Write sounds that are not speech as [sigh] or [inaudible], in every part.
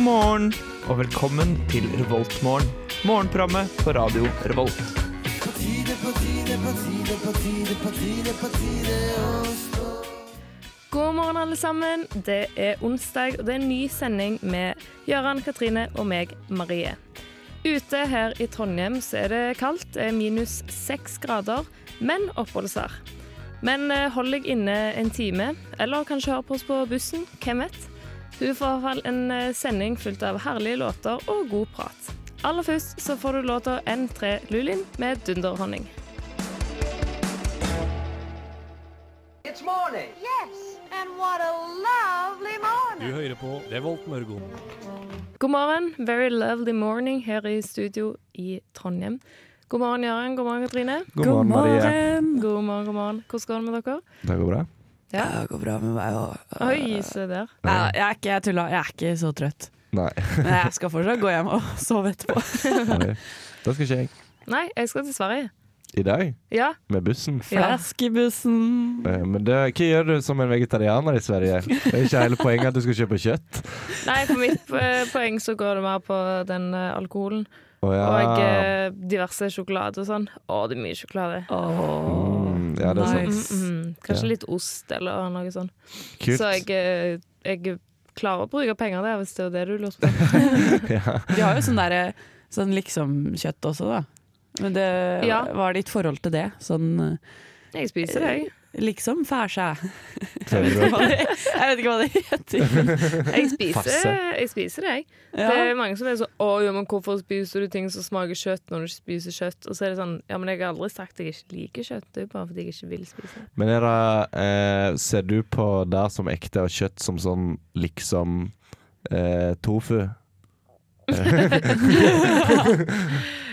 morgen og velkommen til Revoltmorgen. Morgenprogrammet på radio Revolt. God morgen, alle sammen. Det er onsdag, og det er en ny sending med Gøran, Katrine og meg, Marie. Ute her i Trondheim så er det kaldt, det er minus seks grader, men oppholdsvær. Men eh, hold deg inne en time, eller kanskje hør på oss på bussen, hvem vet. Du får i hvert fall en eh, sending fullt av herlige låter og god prat. Aller først så får du låta N3 Lulin med Dunderhonning. It's morning. Yes, and what a lovely morning. Du hører på Revolt Mørgon. God morgen. Very lovely morning her i studio i Trondheim. God morgen, Jørgen. God morgen, Katrine. God morgen, Marie. God morgen, god morgen. Hvordan går det med dere? Det går bra? Ja, det går bra med meg òg. Eh, Oi, se der. Ja, jeg er ikke jeg tulla. Jeg er ikke så trøtt. Nei. Men jeg skal fortsatt gå hjem og sove etterpå. Marie. Da skal ikke jeg. Nei, jeg skal til Sverige. I dag, Ja. med bussen. ja. Flaskebussen. Eh, Men det, hva gjør du som en vegetarianer i Sverige? Det er ikke hele poenget at du skal kjøpe kjøtt. Nei, for mitt eh, poeng så går det mer på den eh, alkoholen Å ja. og eh, diverse sjokolade og sånn. Å, det er mye sjokolade. Mm, ja, det er sant. nice. Mm, kanskje Ja. litt ost eller noe sånn. Kult. Så jeg, eh, jeg klarer å bruke penger der, hvis det er det du lurer på. [laughs] [laughs] Ja. De har jo sånn derre sånn liksom-kjøtt også, da. Men det, Ja. hva er ditt forhold til det? Sånn eh, Jeg spiser det, jeg. liksom fæsja. Jeg Føler du- vet ikke hva det heter. Jeg spiser, Farse. jeg spiser det, jeg. Ja. Det er mange som er sånn Å ja, men hvorfor spiser du ting som smaker kjøtt når du ikke spiser kjøtt? Og så er det sånn Ja, men jeg har aldri sagt at jeg ikke liker kjøtt. Det er jo bare fordi jeg ikke vil spise det. Men er det, eh, ser du på det som ekte og kjøtt som sånn liksom eh, tofu?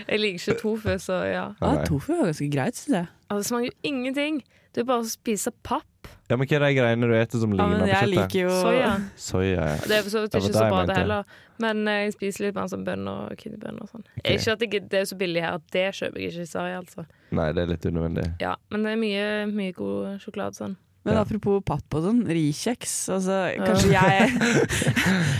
Jeg liker ikke tofu, så ja. Ja, tofu var ganske greit, syns jeg. Altså, det smaker jo ingenting. Det er bare å spise papp. Ja, men Hva er de greiene du eter som Ja, ligner men jeg på kjøttet? liker jo Soya. Soya. ja. Det er for så vidt Det var ikke det så jeg bra, det mente. heller. Men eh, jeg spiser litt mer sånn bønner og kidneybønner og sånn. Ikke at jeg, det er så billig her at det kjøper jeg ikke i Sverige, altså. Nei, det er litt unødvendig. Ja, men det er mye, mye god sjokolade sånn. Men Ja. apropos papp og sånn, rikjeks. Altså, kanskje jeg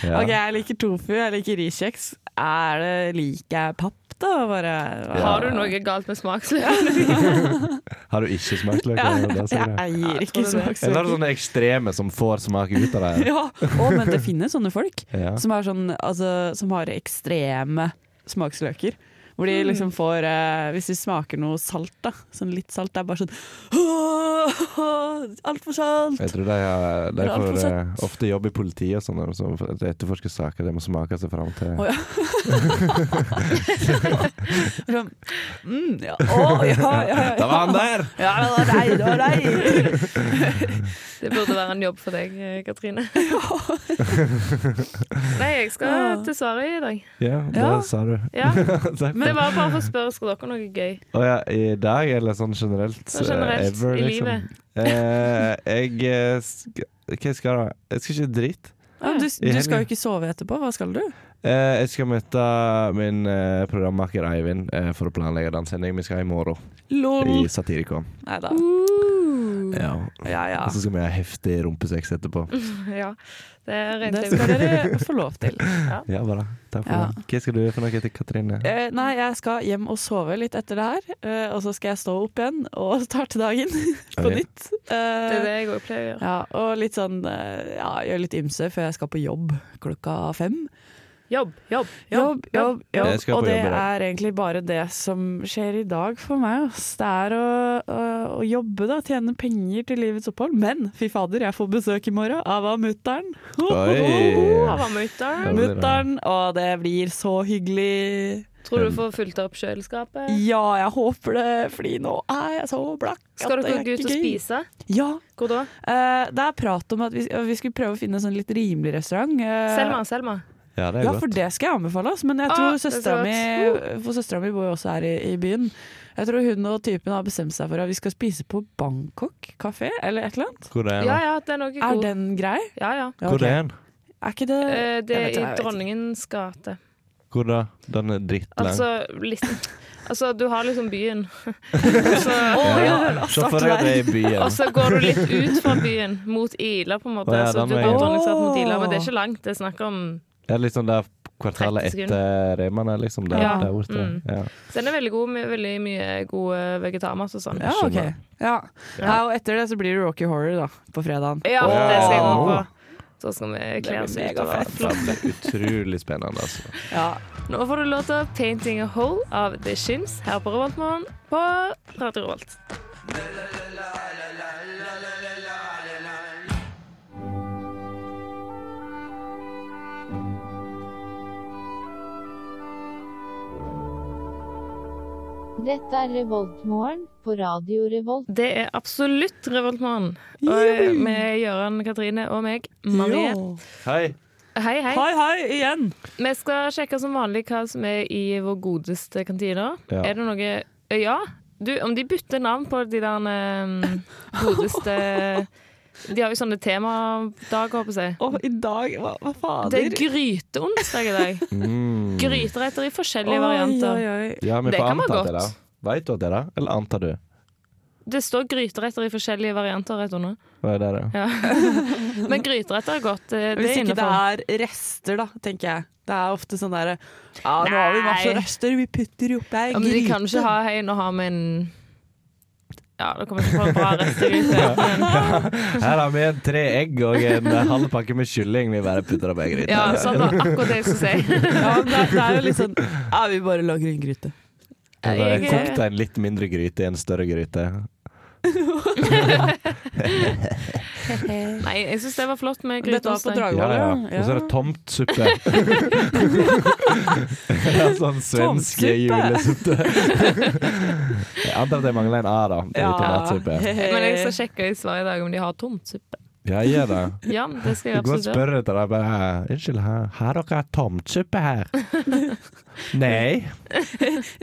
Ja. Ok, jeg liker tofu, jeg liker rikjeks. Er det Liker jeg papp, da? Bare, Har du noe galt med smaksløkene dine? Har du ikke smakt løk? Ja, Det er det som er [laughs] jeg greia. eier jeg ikke tror det. sånn- Eller er smaksløker. det sånne ekstreme som får smak ut av det? [laughs] Ja, å, men [laughs] det finnes sånne folk Ja. som, er sånn, altså, som har ekstreme smaksløker. Hvor Mm. de liksom får eh, Hvis de smaker noe salt, da. Sånn litt salt. Det er bare sånn Altfor salt! Jeg tror de, har- de Det er alt får for eh, ofte jobb i politiet og sånn, og så for- etterforsker saker. De må smake seg fram til Å, ja. Sånn, mm, [laughs] ja. Å, ja, ja, ja, Da var han der! Ja, det var deg, det var deg! [laughs] Det burde være en jobb for deg, eh, Katrine. [laughs] Nei, jeg skal til Sverige i dag. Ja, det Ja. sa du. [laughs] Ja. Takk. Men det var bare for å spørre, skal dere noe gøy? [laughs] Å ja, I dag, eller sånn generelt? Sånn generelt, eh, ever, i liksom. livet. Eh, jeg eh, sk- Hva skal jeg da? Jeg skal ikke dritt. Ja, men du, du skal jo ikke sove etterpå, hva skal du? Eh, jeg skal møte min eh, programmaker Eivind eh, for å planlegge den sendingen vi skal ha i morgen, i LOL! Satirikon. Nei da. Ja. Ja ja. Og så skal vi ha heftig rumpesex etterpå. Ja, det regnet Det jeg skal med. dere få lov til. Ja, bare. Takk for Ja. det. Hva skal du gjøre for noe til Katrine? Eh, nei, jeg skal hjem og sove litt etter det her. eh, og så skal jeg stå opp igjen og [laughs] starte dagen på Ok. nytt. Eh, Det er det jeg òg pleier å gjøre. Ja, og litt sånn eh, ja, gjøre litt ymse før jeg skal på jobb klokka fem. Jobb, jobb, Jobb, jobb, jobb. Jeg skal på Og det jobb i dag. er egentlig bare det som skjer i dag for meg. ass. Det er å, å, å jobbe, da. Tjene penger til livets opphold. Men fy fader, jeg får besøk i morgen av mutter'n. Oi! Hva med utdann? Ja. blir det. Mutter'n, og det blir så hyggelig. Tror du du får fylt opp kjøleskapet? Ja, jeg håper det, fordi nå er jeg så blakk. at Skal det dere er gå ut ikke og gøy. spise? Ja. Hvor da? eh, det er prat om at vi, vi skulle prøve å finne en sånn litt rimelig restaurant. eh, Selma, Selma. Ja, det er Ja, godt. for det skal jeg anbefale oss. Men jeg Ah, tror det er så søstera godt. mi For søstera mi bor jo også her i, i byen. Jeg tror hun og typen har bestemt seg for at vi skal spise på Bangkok kafé, eller et eller annet. Hvor er Ja den? ja, den er noe Er god. den grei? Ja ja. Ja, Hvor ok. er den? Er ikke det Eh, Det Jeg er i vet ikke, jeg vet ikke. Dronningens gate. Hvor da? Den er drittlang. Altså litt [laughs] Altså, du har liksom byen. Så, [laughs] altså, ja. altså, Se for deg at det er i Og byen. så går du litt ut fra byen, mot Ila, på en måte. Å ja, så den du veien. går Dronningsgata mot Ila, men det er Åh. ikke langt. Det er snakk om Ja, liksom der kvartalet 30 sekunder. etter Reimann er, liksom. Der, Ja. der borte. Mm. Ja. Så den er veldig god med veldig mye god eh, vegetarmat og sånn. Ja, ok. Ja. Ja, og etter det så blir det Rocky Horror da, på fredagen. Ja, Åh. det skal jeg gå på. Så skal vi kle oss blir ut. og megafett. være Det er utrolig spennende, altså. Ja. flott. Nå får du låta 'Painting a Hole' av The Shims her på Revoltmorgen på Radio Revolt. Dette er Revoltmorgen på Radio [laughs] Revolt. Det er absolutt Revoltmorgen. Og eh, Juhu. med Gøran, Katrine og meg, Marie. Jo. Hei. Hei, hei. Hei, hei, igjen! Vi skal sjekke som vanlig hva som er i vår godeste kantine. Ja. Er det noe Eh, Ja. Du, om de bytter navn på de der [laughs] eh, godeste De har jo sånne temadager, håper jeg. Og i dag, hva, hva Det fader? er gryteonsdag i [laughs] dag. Mm. Gryteretter i forskjellige Oi, varianter. oi, oi. Ja, vi Det får kan være anta at det er godt. det. Veit du at det er det, eller antar du? Det står gryteretter i forskjellige varianter rett under. Hva er det, da? Ja. Men gryteretter er godt. eh, Det Hvis er ikke det innenfor. er rester, da, tenker jeg. Det er ofte sånn derre Ja, nå har vi masse Nei. rester, vi putter oppi ei Ja, men de gryte. kan ikke ha hei, nå har vi en Ja, da kommer jeg ikke på en bra restegryte. [laughs] Men, Her har vi en tre egg og en [laughs] halv pakke med kylling. Vi bare putter det på ei gryte. ja, sånn var akkurat det jeg skulle si. [laughs] Ja, men det, det er jo litt sånn Ja, vi bare lager en gryte. Så bare Jeg- Kokt en litt mindre gryte i en større gryte. Nei, jeg syns det var flott med Dette var gryteosteg. på Ja, Dragvoll, ja. ja. Og så er det tomt [laughs] suppe. Det er sånn svensk Tomtsuppe. julesuppe. Jeg antar at jeg mangler en A, da. Ja. eh, Tomatsuppe. Men jeg skal sjekke i Sverige i dag om de har tomt suppe. Ja, gjør [laughs] det. Ja, det skal Du jeg kan godt absolutt gjøre. spørre etter det. Bare, Unnskyld, har har dere tomtsuppe [laughs] her? Nei.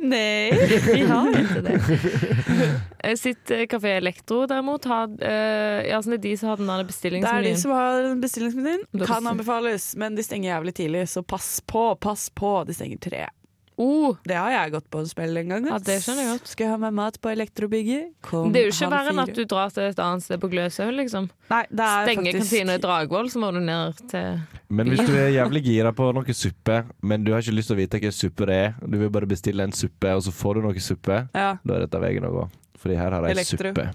Nei. Vi har ikke det. [laughs] Sitt eh, Kafé Elektro derimot har eh, Ja, sånn det er de som har den der Det er de bestillingsmenyen. som har bestillingsmenyen. Da Kan bestil- anbefales, men de stenger jævlig tidlig, så pass på, pass på. De stenger tre. Oh, Det har jeg gått på en spill en gang. Ja, det skjønner jeg godt. Skal jeg ha meg mat på elektrobygget? Kom det er jo ikke halv verre enn at fire. du drar til et annet sted på Gløshaugen, liksom. Nei, det er Stenger faktisk- kantina i Dragvoll, så må du ned til Men hvis du er jævlig gira på noe suppe, men du har ikke lyst til å vite hvilken suppe det er, du vil bare bestille en suppe, og så får du noe suppe, Ja, da er dette veien å gå. Fordi her har jeg Elektro. suppe.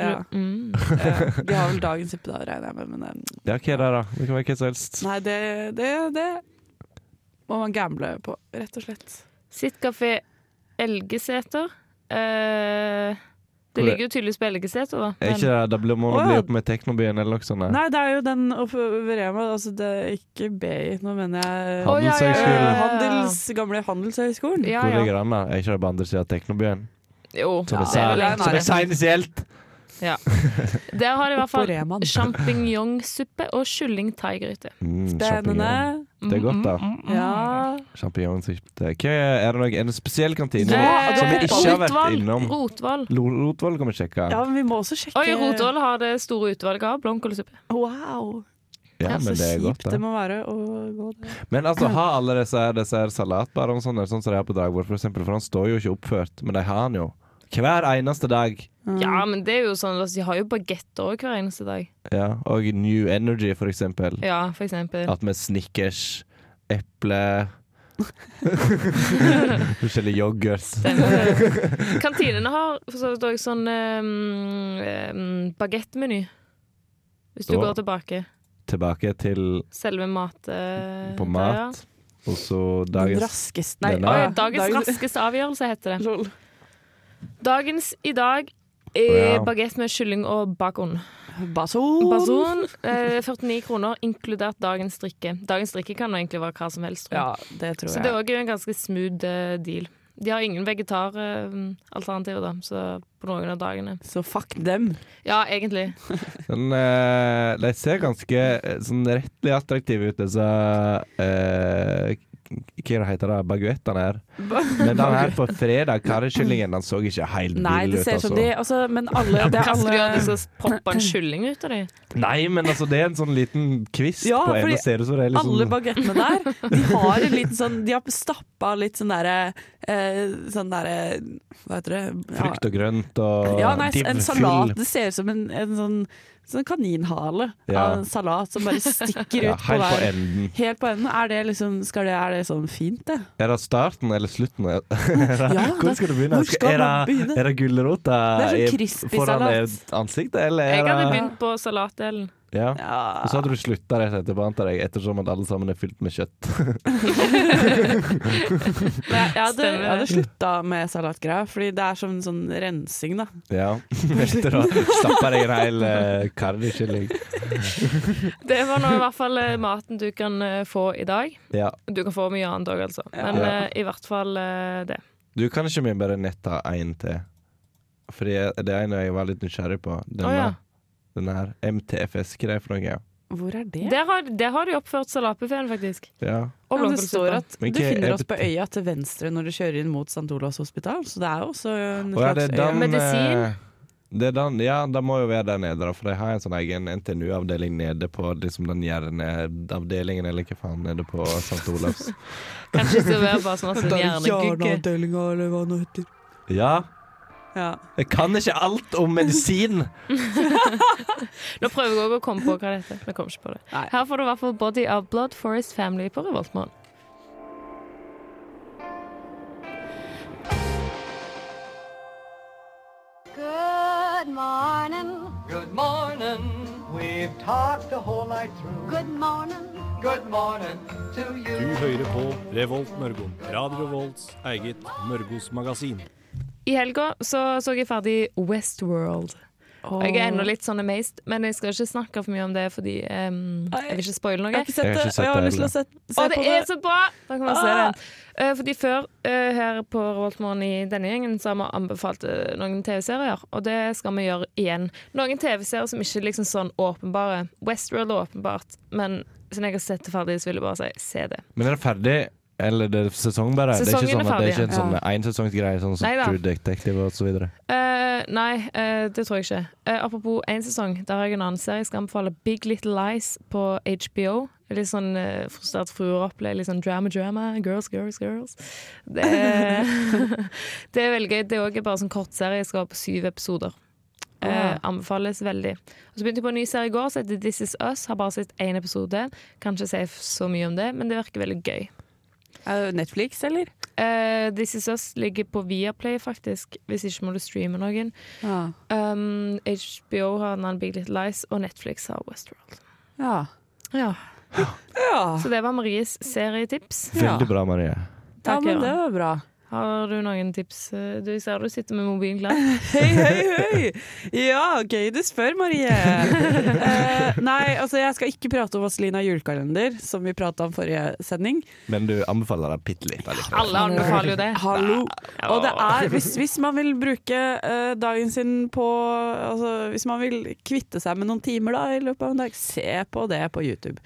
ja. mm. Ja, De har vel dagens suppe da, regner jeg med. Men eh, Ja, hva er det, da? Det kan være hva som helst. nei, det, det, det må man gamble på, rett og slett. Sitt Kafé Elgeseter. Eh, Hvor det er- ligger jo tydeligvis på Elgeseter, da. Er ikke det, da blir må Å, man ja. bli opp med Teknobyen eller noe sånt. Nei, det er jo den oppe ved Rema, altså det er ikke BI, nå mener jeg Å, ja, ja, ja, Eh, ja, ja. handels, gamle Handelshøyskolen. Ja, Hvor ja. ligger den, da? Er ikke det på andre siden av Teknobyen? Jo, Som det jeg sa- er vel som egentlig jeg det. sa initielt! Der har de i hvert På fall Rema. sjampinjongsuppe og kylling-thaigryte. Mm, Spennende. champignon. Det er godt, Mm, da. Ja. Sjampinjongsuppe. Hva Er det noe, en spesiell kantine Det- som vi ikke har vært Eh, Rotvoll. innom? Rotvoll. Lo- Rotvoll kan vi sjekke. ja, men vi må også sjekke Oi, Rotvoll har det store utvalget av blomkålsuppe. Wow. Ja, men så det er godt, kjipt det da. må være å gå der. Men altså, ha alle disse, disse her salatbarene og sånn, sånn som de har på Dragvoll, for eksempel. For han står jo ikke oppført, men de har han jo. Hver eneste dag. Ja, men det er jo sånn altså, De har jo bagetter òg hver eneste dag. Ja, og New Energy, for eksempel. Ja, for eksempel. At med Snickers, [laughs] eple Forskjellig yoghurt. Stemmer. Kantinene har for så vidt òg sånn um, bagettmeny. Hvis du Å. går tilbake. Tilbake til Selve mat... eh, på der, ja. mat. Og så Den dagens raskeste Nei, Den Oi, Ja. dagens raskeste avgjørelse heter det. Lol. Dagens i dag Å, er ja. bagett med kylling og bacon. Bason. Bason, eh, 49 kroner, inkludert dagens drikke. Dagens drikke kan jo egentlig være hva som helst. tror jeg. Ja, det tror så jeg. det er også en ganske smooth eh, deal. De har ingen vegetaralternativer, da, så på noen av dagene. Så fuck dem. Ja, egentlig. Men eh, de ser ganske eh, sånn rettelig attraktive ut, disse eh, Hva det heter det, baguettene her. Men den her på fredag, karriekyllingen, den så ikke helt Nei, vill det ut, ser ut som altså. de altså, Men alle, det er Hva skal du gjøre? Du alle skal poppe en kylling ut av dem? Nei, men altså, det er en sånn liten kvist Ja, på fordi ene stedet, så det er alle liksom bagettene der, de har en liten sånn De har stappa litt sånn derre eh, Sånn derre Hva heter det? Ja. frukt og grønt og Ja, nei, div- en fyll. salat. Det ser ut som en, en sånn sånn kaninhale Ja. av en salat som bare stikker ut Ja, på helt på hver enden. Helt på enden. Er det liksom skal det, Er det sånn fint, det? Er det starten eller slutten? [laughs] Er det- Ja, Hvor skal du begynne? hvor skal er man det, begynne? er det gulrota Det er sånn i- crispy foran salat. i ansiktet, eller er Jeg hadde det- begynt på salatdelen. Ja. Og så Ja. hadde du slutta rett etterpå, antar jeg, ettersom at alle sammen er fylt med kjøtt. Men jeg, jeg hadde, Stemmer. jeg hadde slutta med salatgreia, fordi det er som en sånn rensing, da. [laughs] Ja. Etter å stappe deg en hel eh, karrikylling. Det var nå i hvert fall eh, maten du kan eh, få i dag. Ja. Du kan få mye annet òg, altså. Men Ja. eh, i hvert fall eh, det. Du kan ikke mye bare netta én til. Fordi jeg- det er en jeg var litt nysgjerrig på. Denne, Å, ja. denne her MTFS-greia for noe. Hvor er det? Der har, der har de oppført salatbuffeen, faktisk. Ja. Og ja, det står blomkålsuppa. at Men du ikke- finner jeg- oss på øya til venstre når du kjører inn mot St. Olavs hospital, så det er jo også en Og er slags det øy. den, Medisin? eh, Det er den, ja, det må jo være der nede, da, for de har en sånn egen NTNU-avdeling nede på liksom den hjerneavdelingen, eller hva faen, nede på St. Olavs. Kanskje det er bare sånn at [laughs] det er hjernegugge. eller hva det heter. [laughs] Ja, Ja. jeg kan ikke alt om medisin! Nå prøver jeg òg å komme på hva det heter. Jeg kom ikke på det. Nei. Her får du i hvert fall Body of Blood Forest Family på Revoltmorgen. Good morning. Good morning. We've talked the whole night through. Good morning. Good morning to Du you. hører på Revolt Mørgon. Radio Revolts eget Mørgos magasin. I helga så, så jeg ferdig Westworld. Og jeg er ennå litt sånn amazed, men jeg skal ikke snakke for mye om det, fordi em, jeg vil ikke spoile Jeg noe. har ikke sett Jeg det, har ikke og sett jeg har det lyst til å se, se Å, det på er så bra! Da kan man se Ah! den. Eh, fordi før, eh, her på Revoltmorgen i denne gjengen, så har vi anbefalt eh, noen TV-serier. Og det skal vi gjøre igjen. Noen TV-serier som ikke er liksom sånn åpenbare. Westworld er åpenbart, men siden jeg har sett det ferdig, så vil jeg bare si se det. Men er det ferdig? Eller det er sesong bare? det er Sesongen ikke er sånn at det er ferdig, ikke en sånn ensesongsgreie, sånn som Neida. True Detective og så videre. Eh, nei, eh, det tror jeg ikke. Eh, apropos én sesong, der har jeg en annen serie jeg skal anbefale. Big Little Lies på HBO. Litt sånn eh, frustrert fruer-opplegg. Litt sånn drama-drama. Girls, girls, girls. Det er, [laughs] det er veldig gøy. Det er også bare sånn kortserie. Jeg skal ha på syv episoder. Eh, anbefales veldig. Og så begynte jeg på en ny serie i går som heter This Is Us. Har bare sett én episode. Kan ikke si f- så mye om det, men det virker veldig gøy. Er det Netflix, eller? Eh, This Is Us ligger på Viaplay, faktisk. Hvis ikke må du streame noen. Ja. Um, HBO har en annen Big Little Lies, og Netflix har Westworld. ja. Ja. ja. Så det var Maries serietips. Ja. Veldig bra, Marie. ja, Takk, men det Jørgen. var bra. Har du noen tips? eh, Du, jeg ser du sitter med mobilen klar. Hei, hei, hei! Ja, gøy du spør, Marie. Eh, nei, altså jeg skal ikke prate om Vazelina julekalender, som vi prata om forrige sending. Men du anbefaler deg bitte litt [laughs] allikevel. Alle anbefaler jo det. Hallo! Og det er, hvis, hvis man vil bruke eh, dagen sin på altså, Hvis man vil kvitte seg med noen timer da, i løpet av en dag, se på det på YouTube.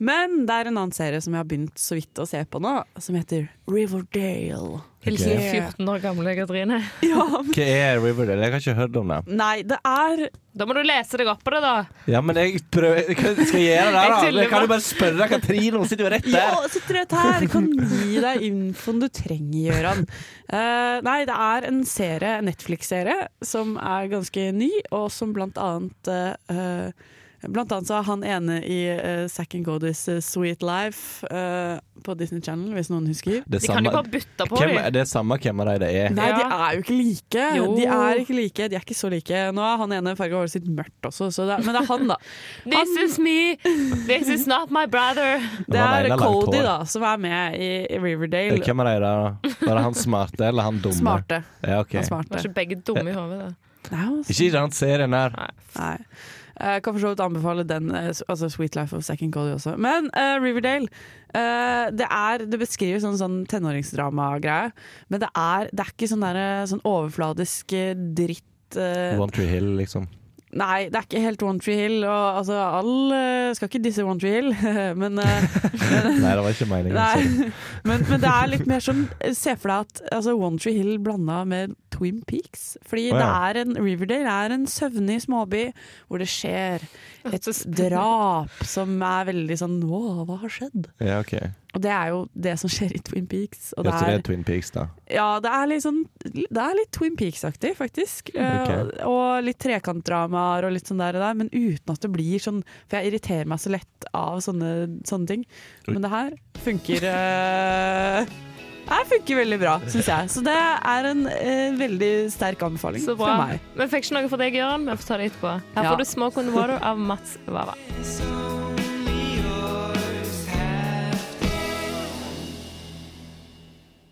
Men det er en annen serie som jeg har begynt så vidt å se på nå, som heter Riverdale. Hilsen Ok. 14 år gamle Katrine. Ja, Hva er Riverdale? Jeg har ikke hørt om det. Nei, det er Da må du lese deg opp på det, da. Ja, men jeg prøver Hva skal jeg gjøre der, da? Jeg tuller Jeg kan bare. jo bare spørre Katrine, hun sitter jo rett Ja, der. sitter rett her! Kan gi deg infoen du trenger, Gøran. Eh, nei, det er en serie, en Netflix-serie, som er ganske ny, og som blant annet eh, eh, Blant annet så har han ene i uh, Zack and Godys eh, Sweet Life eh, på Disney Channel, hvis noen husker. Det De kan jo bare bytte på hvem, dem. det er samme hvem av de det er. Nei, de Ja. er jo ikke like. Jo. De er ikke like, de er ikke så like. Nå er han ene farga håret sitt mørkt også, så det er, men det er han, da. This is me! This is not my brother! Det var er Leila langt Cody, hår. da, som er med i, i Riverdale. Eh, Hvem av de der, da? Var det han smarte eller han dumme? Smarte. Ja, ok. Han Var smarte. ikke begge dumme i hodet, da? Nei, han- Ikke i den serien der. Nei. Nei. Jeg kan for så vidt anbefale den, eh, s- altså Sweet Life of Second Cody også. Men eh, Riverdale eh, det, er, det beskriver sånn, sånn tenåringsdrama-greie, men det er, det er ikke sånn, der, eh, sånn overfladisk eh, dritt eh, One Tree Hill, liksom. Nei, det er ikke helt One Tree Hill. Og, altså, all, eh, skal ikke disse One Tree Hill, [laughs] men eh, Nei, det var ikke [laughs] meningen. sorry. Nei, men, men det er litt mer sånn Se for deg at altså, One Tree Hill blanda med Twin Peaks. Fordi Å, det ja. er en, Riverdale er en søvnig småby hvor det skjer et drap som er veldig sånn Å, hva har skjedd? Ja, OK. Og det er jo det som skjer i Twin Peaks. Og Ja, det så det er er, Twin Peaks, da. ja, det er litt sånn Det er litt Twin Peaks-aktig, faktisk. Eh, Mm, Ok. og litt trekantdramaer og litt sånn der, og der, men uten at det blir sånn For jeg irriterer meg så lett av sånne, sånne ting. Oi. Men det her funker eh, Det her funker veldig bra, syns jeg. Så det er en eh, veldig sterk anbefaling Så fra bra. meg. Vi fikk ikke noe for deg, Jørgen. Vi får ta det etterpå. Her Ja. får du 'Smoke on the Water' av Mats Wawa.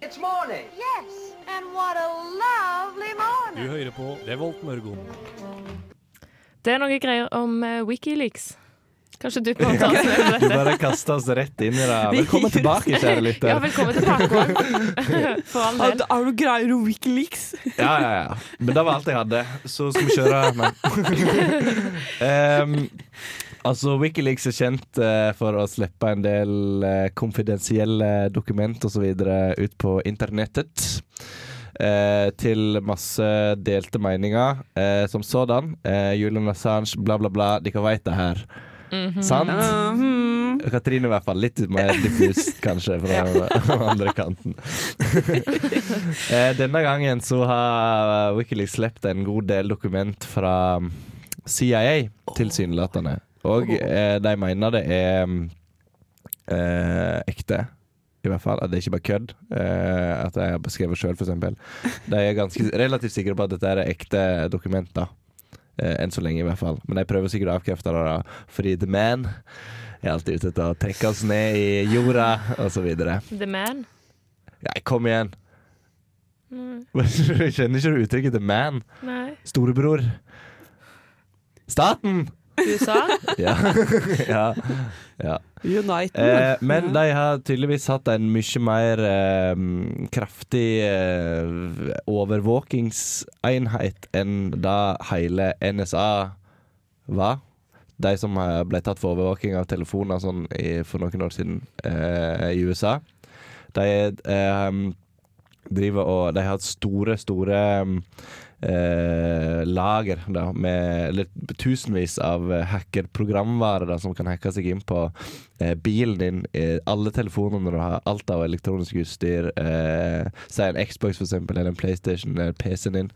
It's morning. Yes, and what a lovely Du morning. hører på Revolt Mørgon. Det er noe greier om eh, Wikileaks. Kanskje du kan ta oss med på Du dette? bare kaster oss rett inn i det. Velkommen tilbake, kjære Ja, lytter. velkommen [laughs] tilbake. For all Er del. du greier om Wikileaks? Ja, ja, ja. Men det var alt jeg hadde, så skal vi kjøre. Men. um, altså, Wikileaks er kjent eh, for å slippe en del eh, konfidensielle dokument osv. ut på internettet. Eh, til masse delte meninger eh, som sådan. Eh, Julian Assange, bla, bla, bla. Dere veit det her. Sant? Mhm. Katrine i hvert fall. Litt mer diffust, kanskje, fra den [laughs] andre kanten. Eh, Denne gangen så har Wikileaks sluppet en god del dokument fra um, CIA, tilsynelatende. Og eh, de mener det er mm, eh, ekte. I hvert fall, At det er ikke bare kødd. Eh, at jeg har beskrevet sjøl, f.eks. De er ganske relativt sikre på at dette er ekte dokumenter. Eh, enn så lenge, i hvert fall. Men de prøver sikkert å avkrefte det, da, fordi the man er alltid ute etter å trekke oss ned i jorda, osv. The Man. Nei, kom igjen. [laughs] Kjenner ikke du uttrykket til man? Nei. Storebror. Staten! USA. Ja. [laughs] ja. ja. Uniten. Eh, men de har tydeligvis hatt en mye mer eh, kraftig eh, overvåkingseinhet enn da hele NSA var. De som eh, ble tatt for overvåking av telefoner sånn i, for noen år siden eh, i USA. De eh, driver og De har hatt store, store eh, lager da, med eller, tusenvis av eh, hackerprogramvare da, som kan hacke seg inn på eh, bilen din, eh, alle telefonene du har, alt av elektronisk utstyr, eh, si en Xbox for eksempel, eller en Playstation, eller PC-en din.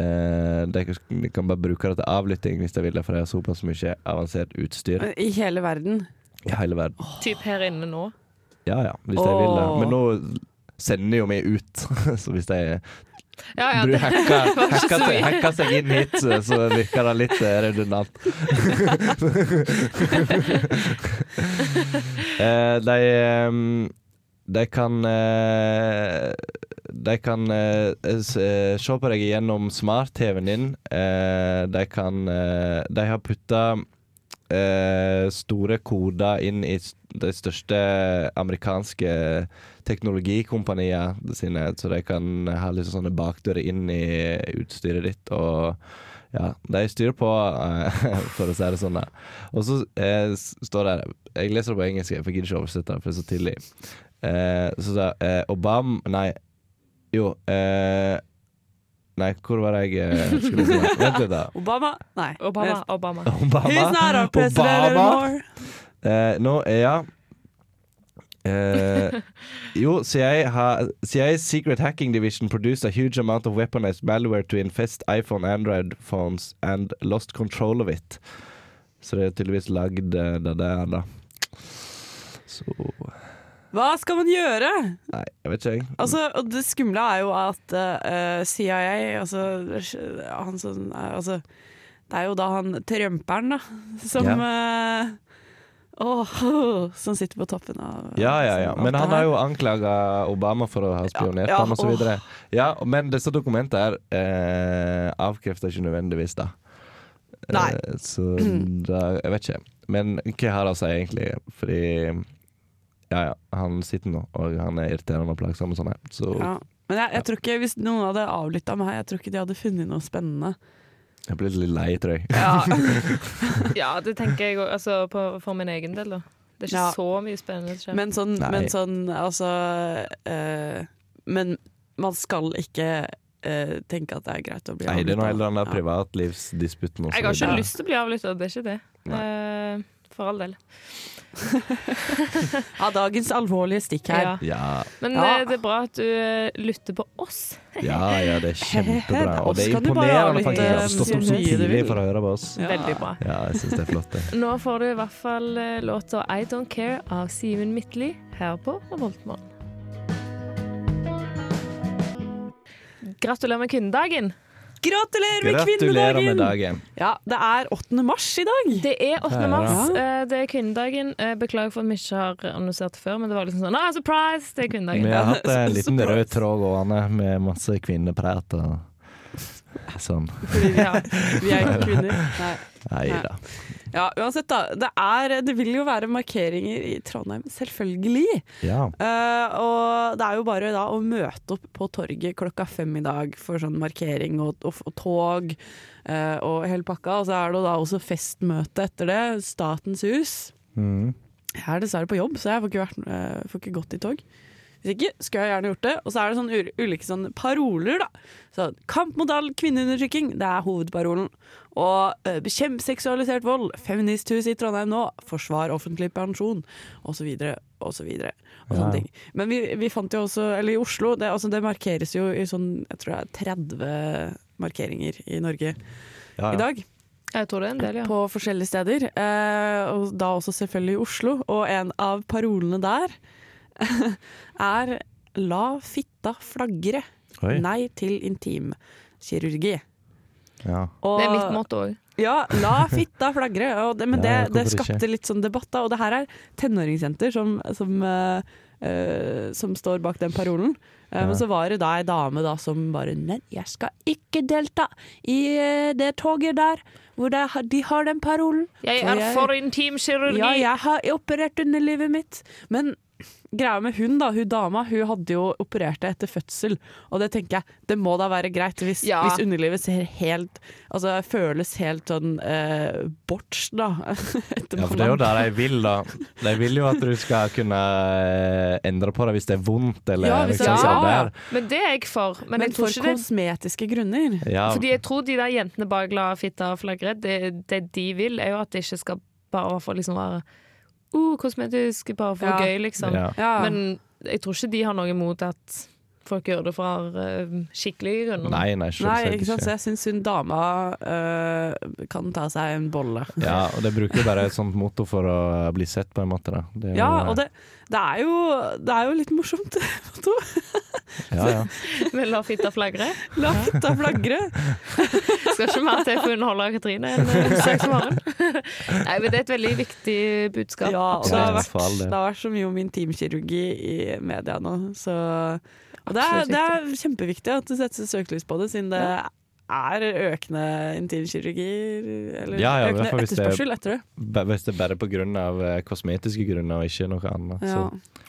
Eh, de, kan, de kan bare bruke det til avlytting hvis de vil, for de har såpass mye avansert utstyr I hele verden. i hele verden. [laughs] Typ her inne nå. Ja ja, hvis de vil det. Åh. Men nå sender jo vi ut, [laughs] så hvis de Ja, ja, bru- det, [laughs] hacker, var ikke hacker, så seg, mye. hacker seg inn hit, så virker det litt eh, [laughs] redundant. Eh, de, ehm, de kan eh, De kan eh, s- eh, se på deg gjennom smart-TV-en din. Eh, de kan eh, De har putta eh, store koder inn i s- de største amerikanske teknologikompanier sine, så de kan ha litt sånne bakdører inn i utstyret ditt. Og ja, de styrer på, eh, [laughs] for å si det sånn. da. Og så eh, s- står det her Jeg leser det på engelsk, jeg for jeg gidder ikke oversette det, for det er så tidlig. Eh, så da, eh, Obama Nei, jo eh, Nei, hvor var det jeg eh, skulle si? det? Vent litt, da. Obama? Nei. Obama, [laughs] Obama. Obama. He's not our president Obama. anymore. Eh, nå er jeg Eh, jo, CIA, ha, CIA's Secret Hacking Division produced a huge amount of weaponized malware to infest iPhone, Android phones and lost control of it. Så det er tydeligvis lagd eh, det der, da. Så Hva skal man gjøre? Nei, jeg vet ikke, jeg. Altså, og det skumle er jo at eh, CIA altså, han som, er- altså Det er jo da han trømperen, da, som eh, åh, Som sitter på toppen av Ja, ja, ja. alt Men Sånn, det han har her. jo anklaga Obama for å ha spionert Ja, på ja, ham og så videre Ja, men disse dokumentene her eh, avkrefter ikke nødvendigvis det. Nei. Eh, så da, jeg vet ikke. Men hva har det å si egentlig? Fordi ja, ja, han sitter nå, og han er irriterende og plagsom og sånn her. Så Ja. Men jeg, jeg tror ikke, hvis noen hadde avlytta meg, jeg tror ikke de hadde funnet noe spennende. jeg blir litt lei, tror jeg. Ja. ja, det tenker jeg òg. Altså, på- for min egen del, da. Det er ikke Ja. så mye spennende som skjer. Men sånn, Nei. men sånn altså eh, Men man skal ikke eh, tenke at det er greit å [laughs] bli Nei, det er noe avlyttet. eller annet Ja. privatlivsdisputten. og så Jeg har ikke videre. lyst til å bli avlytta, det er ikke det. Eh, for all del. Ja, dagens alvorlige stikk her. Ja. Ja, Men Ja. eh, det er bra at du eh, lytter på oss. ja, ja, det er [laughs] kjempebra. Og det Oss er kan du bare eh, imponerende avlytte faktisk at du har stått opp så så mye du tidlig vil. for å høre på oss. Ja. Veldig bra. Ja, jeg syns det er flott, det. Nå får du i hvert fall eh, låta I Don't Care av Simen Midtly her på Revoltmorgen. Gratulerer med kvinnedagen! Gratulerer med Gratulerer med kvinnedagen! dagen. Ja, det er 8. mars i dag. Det er 8. Her, mars. ja. eh, Det er kvinnedagen. Eh, Beklager for at vi ikke har annonsert det før, men det var liksom sånn ah, surprise! Det er Vi kvinnedagen. har hatt en liten rød tråd gående med masse kvinneprat og sånn. Fordi vi er, vi er ikke kvinner. Nei. Nei da. Ja, uansett, da. Det, er, det vil jo være markeringer i Trondheim, selvfølgelig. Ja. Eh, og det er jo bare da å møte opp på torget klokka fem i dag for sånn markering og, og, og tog eh, og hele pakka. Og så er det jo da også festmøte etter det. Statens hus. Mm. Jeg er dessverre på jobb, så jeg får ikke, vært, eh, får ikke gått i tog. Hvis ikke skulle jeg gjerne gjort det. Og så er det sånn ul- ulike sånne paroler, da. Så, Kamp mot all kvinneundertrykking, det er hovedparolen. Og eh, bekjemp seksualisert vold, feministhus i Trondheim nå, forsvar offentlig pensjon, osv. osv. Og Ja. sånne ting. Men vi, vi fant jo også, eller i Oslo, det, altså det markeres jo i sånn jeg tror det er 30 markeringer i Norge Ja, i ja. dag Jeg tror det er en del, ja. på forskjellige steder. Eh, og da også selvfølgelig i Oslo. Og en av parolene der [laughs] er 'la fitta flagre'. Oi. Nei til intimkirurgi. Ja. Og- Det er mitt motto òg. Ja, la fitta flagre. Og det, men [laughs] Ja, det, det hvorfor ikke? skapte litt sånn debatt, da. Og det her er tenåringsjenter som, som, eh, eh, som står bak den parolen. Eh, Men så var det da ei dame da som bare Nei, jeg skal ikke delta i eh, det toget der hvor det, har- de har den parolen. Jeg For er jeg- for intimkirurgi! ja, jeg har operert underlivet mitt. Men greia med hun da, hun dama, hun hadde jo operert det etter fødsel. Og det tenker jeg, det må da være greit hvis, Ja. hvis underlivet ser helt Altså føles helt sånn eh, borts, da. [laughs] etter ja, for det er jo mannen. det de vil, da. De vil jo at du skal kunne eh, endre på det hvis det er vondt, eller Ja, hvis det er- liksom sånn ja, ja. der. Men det er jeg for. Men, Men jeg tror for ikke det kosmetiske grunner. Ja, Fordi jeg tror de der jentene bak La fitta flagre, det, det de vil, er jo at det ikke skal bare være for liksom være uh, kosmetisk, bare for Ja. gøy, liksom. ja. Men jeg tror ikke de har noe imot at folk gjør det for eh, skikkelige grunner. Nei, nei, Nei, selvsagt ikke sant? ikke. Så jeg syns hun dama eh, kan ta seg en bolle. Ja, og de bruker jo bare et sånt motto for å bli sett, på en måte. Da. Det er jo- Ja, og det, det, er jo, det er jo litt morsomt. [laughs] ja, ja. [laughs] Med La fitta flagre. La fitta flagre. Skal ikke mer til for å underholde Katrine enn eh, søksmålen. [laughs] Nei, men det er et veldig viktig budskap. Ja, og det absolutt. har, Ja, vært, for all del. det har vært så mye om intimkirurgi i media nå. Så, og det er, Absolutt det er kjempeviktig at det settes søkelys på det, siden det er økende intimkirurgi. Eller Ja, ja, i hvert fall økende hvis det er- etterspørsel etter det. Ba- Hvis det er bare på grunn av eh, kosmetiske grunner og ikke noe annet. Ja, Så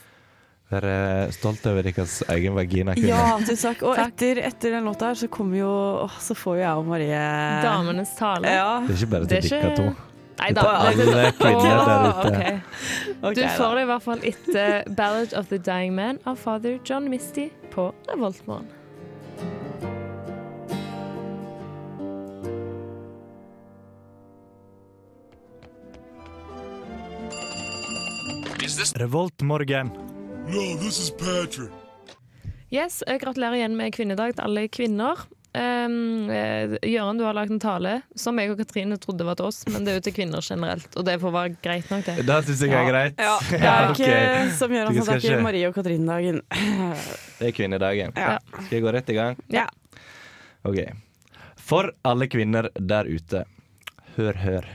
vær eh, stolt over deres egen vagina. kvinner. ja tusen takk. Og etter, etter den låta her, så kommer jo åh, Så får jo jeg og Marie Damenes tale. Ja. Det er ikke bare Det til er dere ikke- to. Nei, Det er alle kvinner Åh, der ute. ok. ok, Du da. får [laughs] det i hvert fall etter 'Ballad of the Dying Man' av father John Misty på Revoltmorgen. Revoltmorgen. Yes, eh, Gratulerer igjen med kvinnedag til alle kvinner. Um, Jøren, du har lagd en tale som jeg og Katrine trodde var til oss, men det er jo til kvinner generelt. Og det får være greit nok, det. Det syns jeg er greit. Ja, det er ikke ok. som gjør Dere at det skal er ikke ikke- Marie og Katrine-dagen. Det er kvinnedagen. Ja. Skal jeg gå rett i gang? Ja. OK. For alle kvinner der ute. Hør, hør.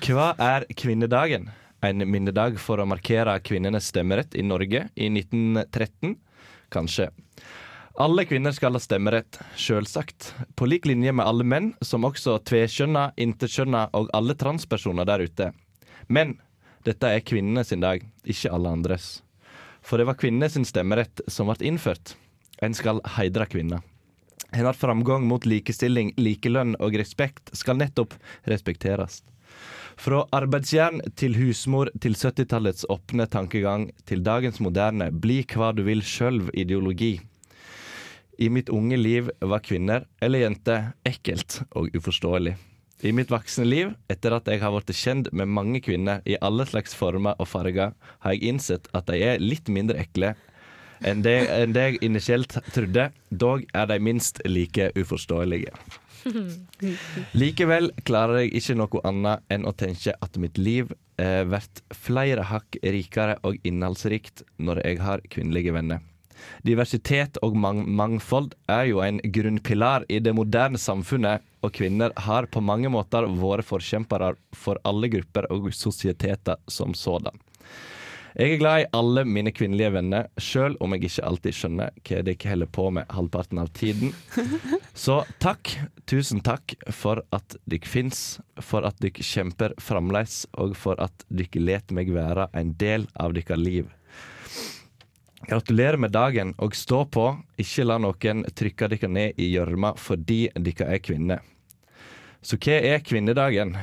Hva er kvinnedagen? En minnedag for å markere kvinnenes stemmerett i Norge i 1913? Kanskje. Alle kvinner skal ha stemmerett, sjølsagt. På lik linje med alle menn, som også tvekjønna, interkjønna og alle transpersoner der ute. Men dette er kvinnene sin dag, ikke alle andres. For det var kvinnene sin stemmerett som ble innført. En skal heidre kvinner. Hennes framgang mot likestilling, likelønn og respekt skal nettopp respekteres. Fra arbeidsjern til husmor til 70-tallets åpne tankegang til dagens moderne bli hva du vil sjølv-ideologi. I mitt unge liv var kvinner eller jenter ekkelt og uforståelig. I mitt voksne liv, etter at jeg har blitt kjent med mange kvinner i alle slags former og farger, har jeg innsett at de er litt mindre ekle enn det, enn det jeg initielt trodde. Dog er de minst like uforståelige. Likevel klarer jeg ikke noe annet enn å tenke at mitt liv eh, blir flere hakk rikere og innholdsrikt når jeg har kvinnelige venner. Diversitet og mang mangfold er jo en grunnpilar i det moderne samfunnet, og kvinner har på mange måter vært forkjempere for alle grupper og sosieteter som sådan. Jeg er glad i alle mine kvinnelige venner, sjøl om jeg ikke alltid skjønner hva de holder på med halvparten av tiden. Så takk, tusen takk for at dykk fins, for at dykk kjemper framleis, og for at dykk let meg være en del av dykkar liv. Gratulerer med dagen, og stå på. Ikke la noen trykke dykk ned i gjørma fordi dykk er kvinner. Så hva er kvinnedagen?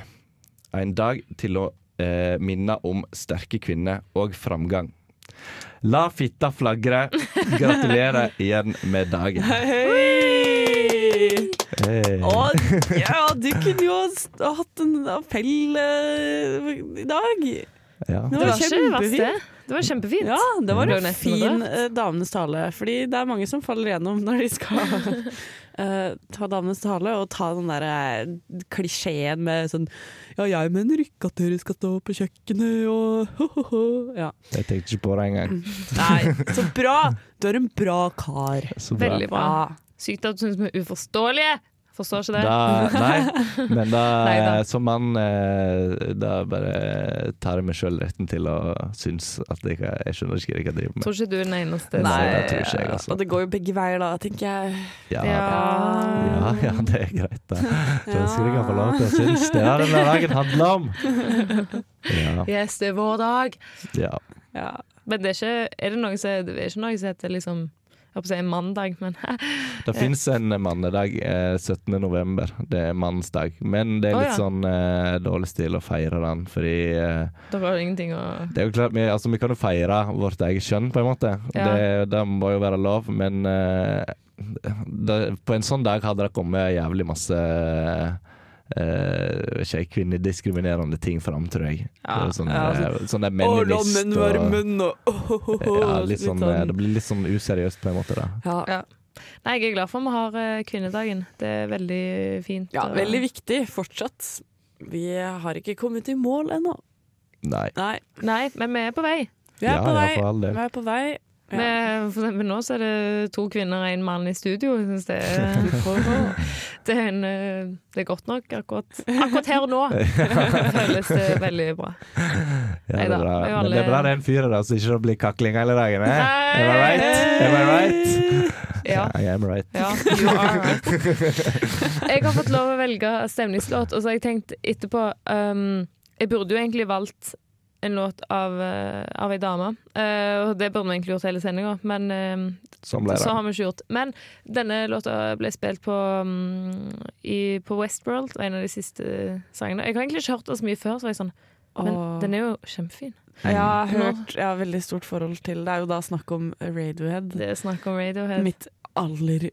En dag til å eh, minne om sterke kvinner og framgang. La fitta flagre. Gratulerer igjen med dagen. Hei! Hey. Og ja, du kunne jo ha hatt en appell eh, i dag. Ja. Det Det var var ikke verst, det. kjempefint. Det var kjempefint. Ja, det var Det var en nesten fin rødt. eh, damenes tale. Fordi det er mange som faller gjennom når de [laughs] skal eh, ta damenes tale, og ta den der eh, klisjeen med sånn Ja, jeg mener ikke at dere skal stå på kjøkkenet og [laughs] ho-ho-ho. Ja. Jeg tenkte ikke på det engang. Nei, så bra! Du er en bra kar. Så bra. Veldig bra. Ja. Sykt at du syns vi er uforståelige. Forstår ikke det. Da, [laughs] nei, men da, Neida. som mann eh, Da bare tar jeg meg sjøl retten til å synes at jeg, ikke- jeg skjønner ikke hva jeg driver med. Tror ikke du er den eneste. Nei, som- det tror ikke jeg, altså. Og det går jo begge veier da, tenker jeg. Ja, ja. Ja. ja, det er greit, [laughs] da. Da skal jeg få lov til å synes. Det er det denne dagen handler om. Ja, Yes, det er vår dag. ja. Ja. Men det er ikke, er det noe som, det er ikke noe som heter liksom jeg holdt på å si en mandag, men [laughs] Det fins en mannedag eh, 17. november. Det er mannens dag. Men det er Å, litt ja. sånn eh, dårlig stil å feire den, fordi eh, da var det ingenting å Det er jo klart, vi, altså, vi kan jo feire vårt eget kjønn, på en måte. Ja. Det, det må jo være lov, men eh, det, på en sånn dag hadde det kommet jævlig masse eh, ikke, kvinnediskriminerende ting fram, tror jeg. Ja, Det er sånn, ja, eh, sånn der Å, la meninist menn være og menn, og [laughs] åhåhå. ja, litt sånn, eh, Det blir litt sånn useriøst, på en måte. da ja. Ja. Nei, jeg er glad for vi har eh, kvinnedagen. Det er veldig fint. ja, og- veldig viktig fortsatt. Vi har ikke kommet i mål ennå. Nei. Nei, Nei, men vi er på vei. vi er Ja, på ja, vei. for all del. vi er på vei. Ja. Vi- for eksempel nå så er det to kvinner og en mann i studio. Jeg synes det, er- det, er en, eh, det er godt nok akkurat, akkurat her og nå. Føles det veldig bra. Ja, det Neida, er bra. vi er jo Men det er bra alle- det er en fyr her, da, så ikke det blir kakling hele dagen. Eh? Am I right? Am I right? [laughs] Ja. I am right. Ja, you are right. [laughs] Jeg har fått lov å velge stemningslåt, og så har jeg tenkt etterpå um, Jeg burde jo egentlig valgt en låt av, eh, av ei dame, Eh, og det burde vi egentlig gjort hele sendinga, men eh, Sånn ble Så det. har vi ikke gjort. Men denne låta ble spilt på, mm, i, på Westworld, og en av de siste sangene. Jeg har egentlig ikke hørt den så mye før, så var jeg sånn, men Åh. den er jo kjempefin. Jeg har Nå- hørt Jeg har veldig stort forhold til Det er jo da snakk om Radiohead. Det er snakk om Radiohead. Mitt aller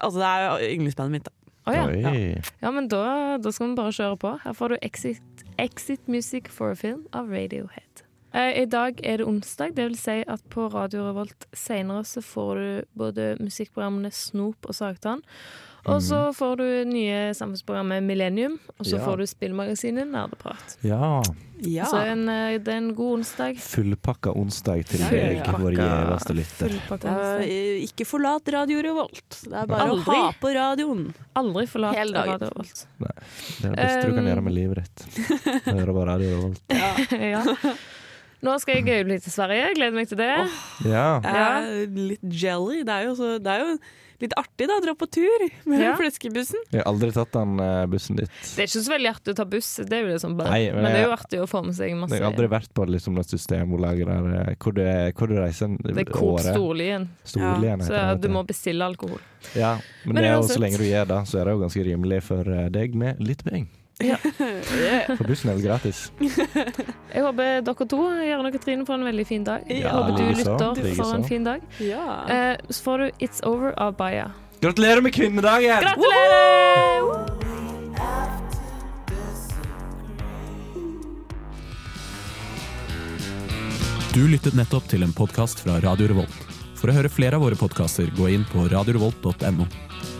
Altså, det er jo yndlingsbandet mitt, da. Å ja. Oi. ja, men da, da skal vi bare kjøre på. Her får du Exit, Exit Music for a Film av Radiohead. Eh, I dag er det onsdag, det vil si at på Radio Revolt senere så får du både musikkprogrammene Snop og Sagtann. Mhm. Og så får du nye samfunnsprogrammet Millennium, og så Ja. får du spillmagasinet Nerdeprat. Ja. Ja. Så en, eh, det er en god onsdag. Fullpakka onsdag til Ja, ja, deg, ja. vår gjeveste lytter. Fullpakka Det er, onsdag. ikke forlat Radio Revolt. Det er bare Aldri. å ha på radioen. Aldri forlat Hele dagen. Radio Revolt. [laughs] Det er det beste du kan Um, gjøre med livet ditt. Ehm. Høre på Radio Revolt. ja. Nå skal jeg øyeblikk til Sverige. Gleder meg til det. Ja. Jeg er litt jelly. Det er jo, så, det er jo litt artig, da. Dra på tur med Ja. flaskebussen. Jeg har aldri tatt den eh, bussen dit. Det er ikke så veldig artig å ta buss, det er jo det som bare. Nei, men men, det er jo jeg- artig å få med seg masse Jeg har aldri vært på liksom, det systembolaget der eh, hvor du, hvor du reiser en- Det er Coop året. Storlien, Storlien, så heter det, du vet må bestille alkohol. Ja, men, Men det er jo, uansett. så lenge du gjør det, så er det jo ganske rimelig for eh, deg med litt penger. [laughs] For bussen er jo gratis. Jeg håper dere to, Jørgen og Katrine, får en veldig fin dag. Jeg Ja, håper du likeså, lytter likeså. får en fin dag. Ja. Eh, så får du It's Over av Baya. Gratulerer med kvinnedagen! Gratulerer! Du lyttet nettopp til en podkast fra Radio Revolt. For å høre flere av våre podkaster, gå inn på radiorevolt.no.